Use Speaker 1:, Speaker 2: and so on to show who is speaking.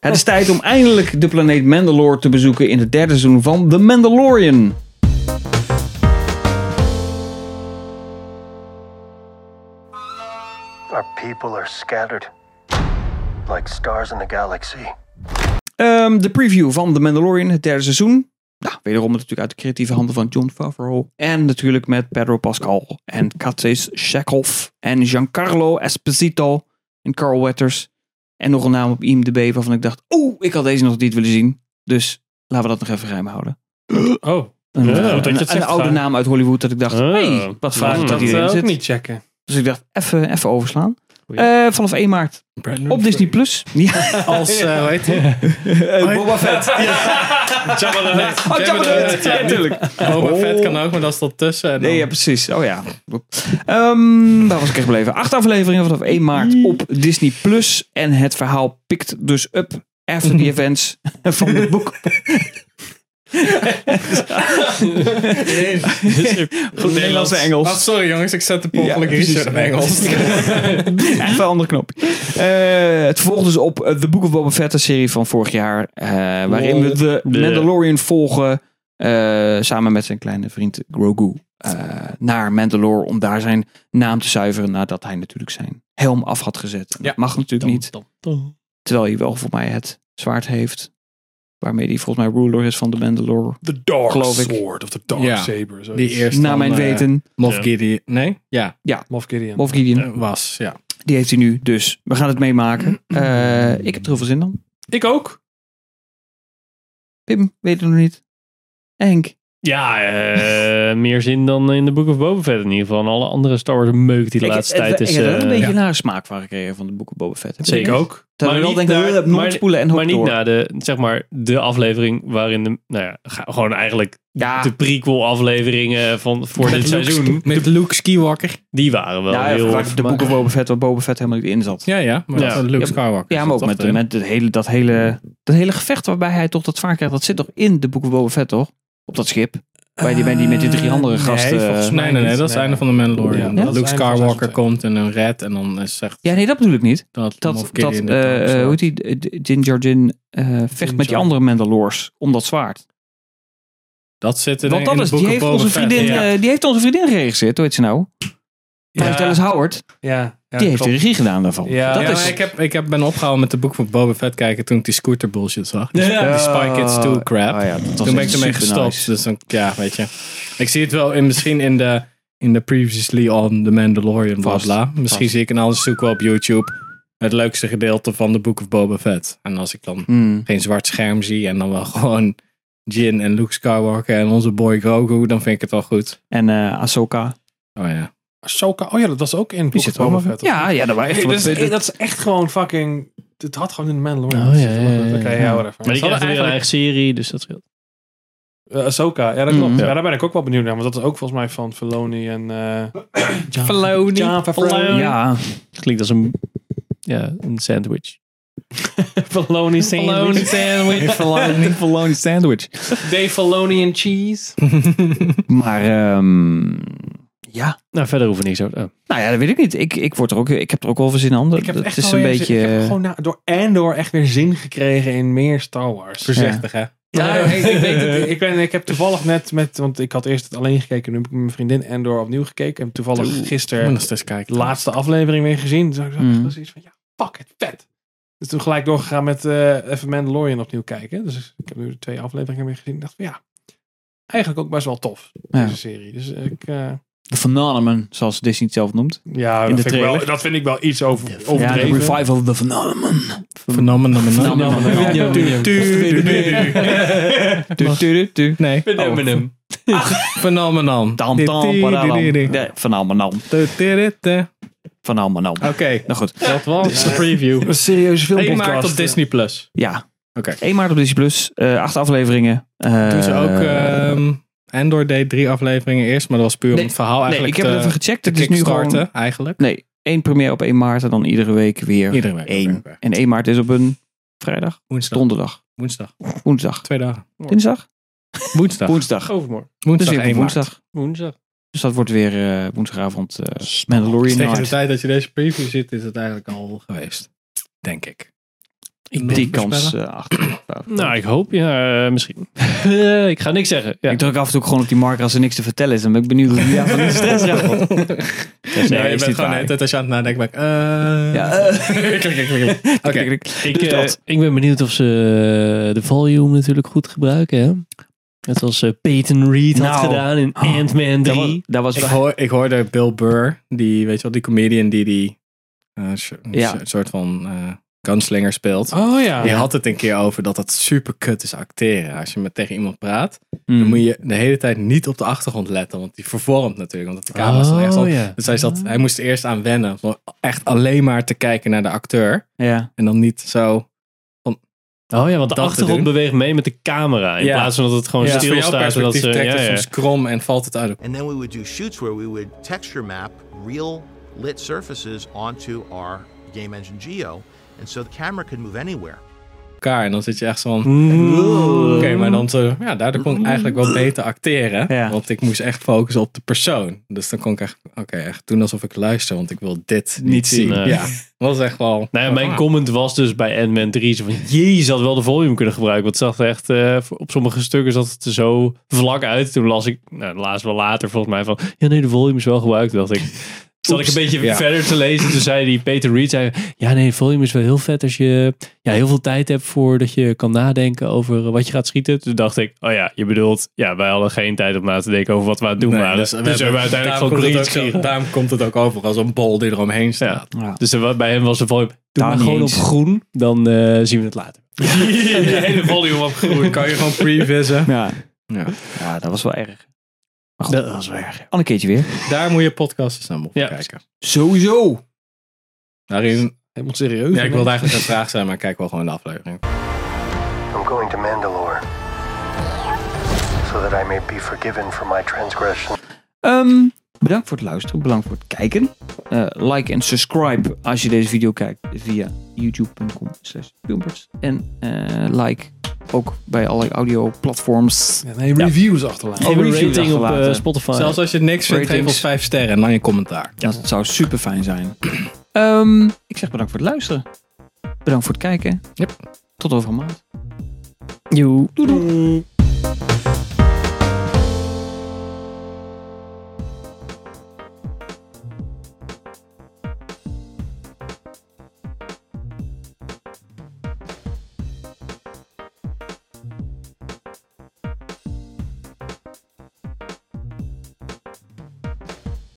Speaker 1: Het is tijd om eindelijk de planeet Mandalore te bezoeken in het derde seizoen van The Mandalorian.
Speaker 2: Our people are scattered like stars in the galaxy.
Speaker 1: Ehm, de preview van The Mandalorian, het derde seizoen. Nou, wederom natuurlijk uit de creatieve handen van John Favreau. En natuurlijk met Pedro Pascal en Katis Shekhoff en Giancarlo Esposito en Carl Wetters. En nog een naam op IMDb waarvan ik dacht, oeh, ik had deze nog niet willen zien. Dus laten we dat nog even geheim houden.
Speaker 3: Oh,
Speaker 1: Een,
Speaker 3: Ja,
Speaker 1: eh,
Speaker 3: goed dat je
Speaker 1: een-
Speaker 3: het
Speaker 1: een
Speaker 3: zegt,
Speaker 1: oude
Speaker 3: Frank.
Speaker 1: naam uit Hollywood dat ik dacht,
Speaker 3: Oh.
Speaker 1: hey, wat
Speaker 3: vraag
Speaker 1: vaak Hmm.
Speaker 3: ik
Speaker 1: dat
Speaker 3: dat
Speaker 1: die erin
Speaker 3: ook
Speaker 1: zit.
Speaker 3: niet checken.
Speaker 1: Dus ik dacht, even even overslaan.
Speaker 3: Goeie.
Speaker 1: Eh, vanaf 1 maart op Disney+. Plus. Ja,
Speaker 4: Als, eh hoe heet die?
Speaker 1: eh, Boba Fett.
Speaker 3: Jabba the Hutt.
Speaker 1: Oh, Jabba the Hutt. Ja, natuurlijk.
Speaker 4: Boba Fett kan ook, maar dat is tot tussen. en dan-
Speaker 1: Oh. Nee, ja, precies. Oh ja. Ehm, daar was ik echt gebleven. Acht afleveringen vanaf 1 maart op Disney+. Plus. En het verhaal pikt dus up after the events van het boek. Goed Nederlands en
Speaker 4: Oh,
Speaker 1: Engels.
Speaker 4: sorry jongens, ik zet de per
Speaker 1: Ja,
Speaker 4: ongeluk
Speaker 1: precies.
Speaker 4: Richard in Engels.
Speaker 1: Even een andere knop. Eh, het volgt dus op eh, The Book of Boba Fett, de serie van vorig jaar. eh, waarin we de Mandalorian volgen. eh, samen met zijn kleine vriend Grogu. eh, naar Mandalore om daar zijn naam te zuiveren. Nadat hij natuurlijk zijn helm af had gezet. En
Speaker 4: Ja.
Speaker 1: Dat mag natuurlijk niet. Terwijl hij wel voor mij het zwaard heeft. Waarmee hij volgens mij ruler is van de Mandalore.
Speaker 3: The Dark
Speaker 1: Geloof ik.
Speaker 3: Sword of the Dark
Speaker 4: Ja.
Speaker 3: Saber. zoiets.
Speaker 4: Die eerste.
Speaker 1: Dus
Speaker 4: eh,
Speaker 1: Naar mijn weten.
Speaker 4: Moff
Speaker 3: Ja.
Speaker 4: Gideon. Nee? Ja,
Speaker 3: Moff Gideon.
Speaker 1: Of Gideon.
Speaker 4: eh, was. Ja.
Speaker 1: Die heeft hij nu. Dus we gaan het meemaken. Eh, ik heb er heel veel zin in.
Speaker 3: Ik ook.
Speaker 1: Pim weet het nog niet. Henk.
Speaker 5: Ja, eh, meer zin dan in de Book of Boba Fett in ieder geval. En alle andere Star Wars meuk die de
Speaker 1: ik,
Speaker 5: laatste
Speaker 1: ik-
Speaker 5: tijd
Speaker 1: ik,
Speaker 5: is.
Speaker 1: heb er wel een
Speaker 5: eh,
Speaker 1: beetje naar smaak van gekregen van de boeken Boba Fett. Heb je
Speaker 5: Zeker
Speaker 1: dat?
Speaker 3: ook.
Speaker 1: Dat
Speaker 5: Maar
Speaker 1: we wel
Speaker 5: niet
Speaker 1: denken,
Speaker 5: naar-
Speaker 1: eh, mond
Speaker 5: maar-
Speaker 1: spoelen en
Speaker 5: Maar
Speaker 1: hop
Speaker 5: niet
Speaker 1: door.
Speaker 5: na de, zeg maar, de aflevering waarin de, nou ja, ga- gewoon eigenlijk
Speaker 1: Ja.
Speaker 5: de prequel afleveringen van voor dit seizoen,
Speaker 4: Met Luke Skywalker.
Speaker 5: die waren wel
Speaker 1: Nou, ja,
Speaker 5: heel...
Speaker 1: waar de boeken Boba Fett, waar Boba Fett helemaal niet in zat.
Speaker 4: Ja, ja. Maar
Speaker 5: Ja.
Speaker 4: dat is Luke
Speaker 1: Ja,
Speaker 4: Skywalker.
Speaker 1: Ja, maar ook
Speaker 4: Dat
Speaker 1: met,
Speaker 4: is
Speaker 1: met het hele, dat, hele, dat hele gevecht waarbij hij toch dat zwaar krijgt. Dat zit toch in de boeken Boba Fett, toch? Op dat schip. Bij die, bij die met die drie andere
Speaker 3: nee,
Speaker 1: gasten. eh.
Speaker 3: volgens mij-
Speaker 4: Nee, nee, nee, dat is het
Speaker 3: Nee.
Speaker 4: einde van de Mandalorian.
Speaker 3: Ja,
Speaker 4: Dat
Speaker 3: dat
Speaker 4: Luke
Speaker 3: is het einde van
Speaker 4: Skywalker
Speaker 3: seizoen
Speaker 4: komt en een red en dan is zegt
Speaker 1: Ja, nee, dat bedoel ik niet.
Speaker 4: dat,
Speaker 1: Dat,
Speaker 4: Moff
Speaker 1: dat
Speaker 4: Gideon
Speaker 1: eh,
Speaker 4: dat
Speaker 1: eh,
Speaker 4: dan
Speaker 1: hoe heet die, eh, Din Djarin Jin vecht met
Speaker 3: Din
Speaker 1: die
Speaker 3: Djarin.
Speaker 1: andere Mandalores om dat zwaard.
Speaker 4: Dat zit in,
Speaker 1: Want
Speaker 4: in
Speaker 1: dat
Speaker 4: de
Speaker 1: is,
Speaker 4: Book
Speaker 1: die
Speaker 4: of
Speaker 1: heeft
Speaker 4: Boba
Speaker 1: onze
Speaker 4: Fett.
Speaker 1: vriendin,
Speaker 4: Ja.
Speaker 1: eh, die heeft onze vriendin geregisseerd, hoe heet ze nou?
Speaker 3: Ja.
Speaker 1: Ja. Dallas Howard,
Speaker 3: Ja, ja,
Speaker 1: die heeft de
Speaker 3: klopt.
Speaker 1: regie gedaan daarvan.
Speaker 3: Ja.
Speaker 1: dat
Speaker 4: Ja,
Speaker 1: is,
Speaker 4: maar ik, heb, ik heb ben opgehouden met de boek van Boba Fett kijken toen ik die scooter bullshit zag. Die,
Speaker 3: Ja.
Speaker 4: die Spy Kids 2 crap.
Speaker 1: Ah ja, dat was
Speaker 4: toen ben ik
Speaker 1: echt
Speaker 4: ermee
Speaker 1: super
Speaker 4: gestopt.
Speaker 1: nice.
Speaker 4: Dus dan, ja, weet je. Ik zie het wel in, misschien in de, in de previously on The Mandalorian, bla
Speaker 1: Vast.
Speaker 4: bla. Misschien
Speaker 1: Vast.
Speaker 4: zie ik een ander zoek wel op YouTube. Het leukste gedeelte van de Book of Boba Fett. En als ik dan
Speaker 1: Hmm.
Speaker 4: geen zwart scherm zie en dan wel gewoon Jin en Luke Skywalker en onze boy Grogu, dan vind ik het wel goed.
Speaker 1: En eh Ahsoka.
Speaker 4: Oh ja.
Speaker 3: Ahsoka. Oh ja, dat was ook in Book of
Speaker 1: zit er ook
Speaker 3: Boba
Speaker 1: nog-
Speaker 3: Fett.
Speaker 1: Ja, ja, dat was echt...
Speaker 3: Hey, dus dat,
Speaker 1: wat-
Speaker 3: is, dat is echt gewoon fucking... Het had gewoon in de Mandalorian.
Speaker 5: Oh, ja,
Speaker 3: gezeten,
Speaker 5: ja,
Speaker 3: maar goed,
Speaker 5: ja,
Speaker 3: Oké,
Speaker 5: ja.
Speaker 3: ja, whatever.
Speaker 5: maar
Speaker 3: Ze
Speaker 5: die krijgt
Speaker 3: hadden
Speaker 5: weer
Speaker 3: eigenlijk
Speaker 5: een eigen serie, dus dat scheelt.
Speaker 3: eh, Ahsoka, ja dat klopt.
Speaker 1: Mm.
Speaker 3: Ja, daar ben ik ook wel benieuwd naar. Want dat is ook volgens mij van Filoni en... eh
Speaker 4: Filoni.
Speaker 3: John Favreau.
Speaker 1: Ja,
Speaker 5: Klinkt als een, ja, een sandwich.
Speaker 3: Filoni sandwich.
Speaker 5: Filoni
Speaker 3: sandwich.
Speaker 4: Filoni sandwich.
Speaker 3: eh, Dave Filoni and cheese.
Speaker 1: maar... ehm, ja.
Speaker 5: Nou, verder hoeven we niks over. Oh.
Speaker 1: Nou ja, dat weet ik niet. Ik, ik, word er ook, ik heb er ook wel veel zin in handen.
Speaker 3: Ik heb
Speaker 1: Het
Speaker 3: echt
Speaker 1: is een
Speaker 3: alweer zin- ik heb
Speaker 1: beetje...
Speaker 3: gewoon na- door en door echt weer zin gekregen in meer Star Wars.
Speaker 4: Voorzichtig, hè?
Speaker 3: Ja, ik, ik weet het. Ik, ben, ik heb toevallig net met, want ik had eerst het alleen gekeken, nu heb ik met mijn vriendin en door opnieuw gekeken. En toevallig
Speaker 4: Ik moet
Speaker 3: gisteren
Speaker 4: nog eens
Speaker 3: de
Speaker 4: kijken.
Speaker 3: laatste aflevering weer gezien. Dus ik
Speaker 1: Mm.
Speaker 3: dacht zoiets van, ja, fuck het, vet. Dus toen gelijk doorgegaan met eh even Mandalorian opnieuw kijken. Dus ik heb nu twee afleveringen weer gezien. Ik dacht van, ja, eigenlijk ook best wel tof,
Speaker 1: Ja.
Speaker 3: deze serie. Dus ik, eh,
Speaker 1: De phenomenon, zoals Disney het zelf noemt.
Speaker 3: ja,
Speaker 1: de
Speaker 3: dat vind, ik
Speaker 1: trailer.
Speaker 3: wel, dat vind ik wel iets over,
Speaker 1: Ja, de
Speaker 3: overdreven.
Speaker 1: revival of the phenomenon.
Speaker 4: Phenomenon.
Speaker 1: Phenomenon.
Speaker 4: Ja, tuurlijk.
Speaker 1: Du, du, du, du.
Speaker 4: Nee. Phenomenon.
Speaker 1: Tam, tam, paralam. Nee, Phenomenon. Phenomenon.
Speaker 4: Oké.
Speaker 1: Nou goed.
Speaker 4: Dat was de preview.
Speaker 3: Een serieuze
Speaker 4: Eén
Speaker 3: filmpodcast.
Speaker 4: maart op Disney+. Plus.
Speaker 1: Ja.
Speaker 4: Oké.
Speaker 1: 1 maart op Disney Plus. eh, acht afleveringen. Eh,
Speaker 4: Toen ze ook... ehm, Andor deed drie afleveringen eerst, maar dat was puur om
Speaker 1: Nee,
Speaker 4: het verhaal
Speaker 1: nee,
Speaker 4: eigenlijk eh,
Speaker 1: ik heb het even gecheckt.
Speaker 4: te
Speaker 1: Het is nu gewoon...
Speaker 4: kickstarten, eigenlijk.
Speaker 1: Nee, één première op 1 maart en dan iedere week weer
Speaker 4: Iedere week.
Speaker 1: één.
Speaker 4: Oké, oké.
Speaker 1: En 1 maart is op een vrijdag,
Speaker 4: Woensdag.
Speaker 1: donderdag,
Speaker 4: Woensdag.
Speaker 1: woensdag,
Speaker 4: Twee dagen.
Speaker 1: dinsdag,
Speaker 4: Woensdag.
Speaker 1: woensdag.
Speaker 3: Overmorgen.
Speaker 1: Dus
Speaker 4: Woensdag
Speaker 1: weer op
Speaker 4: 1 maart.
Speaker 1: woensdag.
Speaker 3: Woensdag.
Speaker 1: Dus dat wordt weer eh, woensdagavond eh, Mandalorian
Speaker 4: Dus Tegen de
Speaker 1: Night.
Speaker 4: tijd dat je deze preview ziet, is het eigenlijk al geweest. Denk ik. Ik
Speaker 1: die kans eh, achter.
Speaker 5: Nou, ik hoop ja, eh, misschien. Eh, ik ga niks zeggen. Ja.
Speaker 1: Ik druk af en toe gewoon op die marker als er niks te vertellen is. Dan ben ik benieuwd hoe die daar van de stress raakt. Nee,
Speaker 4: Nee,
Speaker 1: is
Speaker 4: je bent
Speaker 1: niet
Speaker 4: gewoon de
Speaker 1: waar.
Speaker 4: hele tijd als je aan het nadenken bent. eh,
Speaker 1: Ja, eh,
Speaker 4: klik, klik, klik, klik. Oké.
Speaker 1: klik, klik.
Speaker 5: Ik,
Speaker 1: Dus
Speaker 5: eh,
Speaker 1: dat.
Speaker 5: ik ben benieuwd of ze eh, de volume natuurlijk goed gebruiken. Hè? Net als eh, Peyton Reed had
Speaker 1: Nou.
Speaker 5: gedaan in
Speaker 1: Oh,
Speaker 5: Ant-Man 3.
Speaker 1: Dat was, dat was
Speaker 4: Ik, hoor, ik hoorde Bill Burr, die, weet je wel, die comedian die die eh, so-
Speaker 1: Ja.
Speaker 4: so- soort van eh gunslinger speelt.
Speaker 3: Oh ja.
Speaker 4: Die had het een keer over dat het super kut is acteren. Als je met tegen iemand praat,
Speaker 1: Mm.
Speaker 4: dan moet je de hele tijd niet op de achtergrond letten. Want die vervormt natuurlijk, omdat de camera's dan
Speaker 1: Oh,
Speaker 4: echt op.
Speaker 5: Oh, ja.
Speaker 4: Dus hij, zat, hij moest er eerst aan wennen. om Echt alleen maar te kijken naar de acteur.
Speaker 1: Ja.
Speaker 4: En dan niet zo...
Speaker 5: Oh ja, want de
Speaker 4: dat te
Speaker 5: achtergrond
Speaker 4: doen.
Speaker 5: beweegt mee met de camera. In
Speaker 4: Ja.
Speaker 5: plaats van dat het gewoon
Speaker 4: Dus voor jouw
Speaker 5: stilstaat. zodat
Speaker 4: perspectief
Speaker 5: ze,
Speaker 4: trekt
Speaker 5: ja,
Speaker 4: het
Speaker 5: ja.
Speaker 4: soms krom en valt het uit de
Speaker 6: And then we would do shoots where we would texture map real lit surfaces onto our game engine geo. And so the camera could move anywhere.
Speaker 4: elkaar. En dan zit je echt zo van...
Speaker 5: Mm.
Speaker 4: Oké, maar dan zo... Ja, daardoor kon ik eigenlijk wel beter acteren.
Speaker 1: Ja.
Speaker 4: Want ik moest echt focussen op de persoon. Dus dan kon ik echt... Oké, echt doen alsof ik luister. Want ik wil dit niet,
Speaker 1: Niet
Speaker 4: zien.
Speaker 1: zien,
Speaker 5: nee.
Speaker 4: Ja, dat was echt wel...
Speaker 5: Nou ja, mijn
Speaker 4: Ah.
Speaker 5: comment was dus bij Ant-Man 3 zo van, jezus, had wel de volume kunnen gebruiken. Want het zag er echt, eh, voor- op sommige stukken zat het er zo vlak uit. Toen las ik, nou, laatst wel later volgens mij van, ja nee, de volume is wel gebruikt, dacht ik. Zat ik een beetje
Speaker 4: ja.
Speaker 5: verder te lezen. Toen zei die Peter Reed, zei, ja nee, de volume is wel heel vet als je ja, heel veel tijd hebt voordat je kan nadenken over wat je gaat schieten. Toen dacht ik, oh ja, je bedoelt, ja, wij hadden geen tijd om na te denken over wat we aan het doen
Speaker 4: Nee,
Speaker 5: waren. Dus,
Speaker 4: we
Speaker 5: hebben we
Speaker 4: hebben-
Speaker 5: uiteindelijk
Speaker 4: daarom
Speaker 5: gewoon
Speaker 4: komt het
Speaker 5: Creed
Speaker 4: ook zo-
Speaker 5: geschieten.
Speaker 4: Daarom komt het ook over als een bol die eromheen staat.
Speaker 5: Ja. Dus er wa- bij hem was de volume. Doe
Speaker 1: Daar
Speaker 5: maar
Speaker 1: niet
Speaker 5: gewoon
Speaker 1: eens.
Speaker 5: op groen, dan eh, zien we het later. de hele volume op groen.
Speaker 4: Kan je gewoon previssen.
Speaker 1: Ja.
Speaker 4: Ja.
Speaker 1: ja, dat was wel erg. Maar goed,
Speaker 5: Dat was wel erg.
Speaker 1: al een keertje weer.
Speaker 4: Daar moet je podcasts naar op
Speaker 5: Ja.
Speaker 4: kijken.
Speaker 1: Sowieso.
Speaker 4: Daarin,
Speaker 3: Helemaal serieus.
Speaker 4: ja, ik wilde eigenlijk een vraag zijn, maar kijk wel gewoon de aflevering.
Speaker 2: I'm going to Mandalore so that I may be forgiven for my transgression.
Speaker 1: Ehm, bedankt voor het luisteren. Bedankt voor het kijken. Eh, like en subscribe als je deze video kijkt via youtube.com slash filmpers. En eh, like ook bij alle audio platforms.
Speaker 3: Ja, nee, reviews achterlaten.
Speaker 5: Geef
Speaker 1: Oh,
Speaker 5: een
Speaker 1: review
Speaker 5: rating op
Speaker 1: achterlaten.
Speaker 5: eh, Spotify.
Speaker 4: Zelfs als je niks vindt, geef
Speaker 1: Ratings.
Speaker 4: ons vijf sterren en dan je commentaar.
Speaker 1: Dat zou super fijn zijn. Ehm, ik zeg bedankt voor het luisteren. Bedankt voor het kijken.
Speaker 4: Yep.
Speaker 1: Tot over een maand.
Speaker 5: you.
Speaker 1: Doei doei.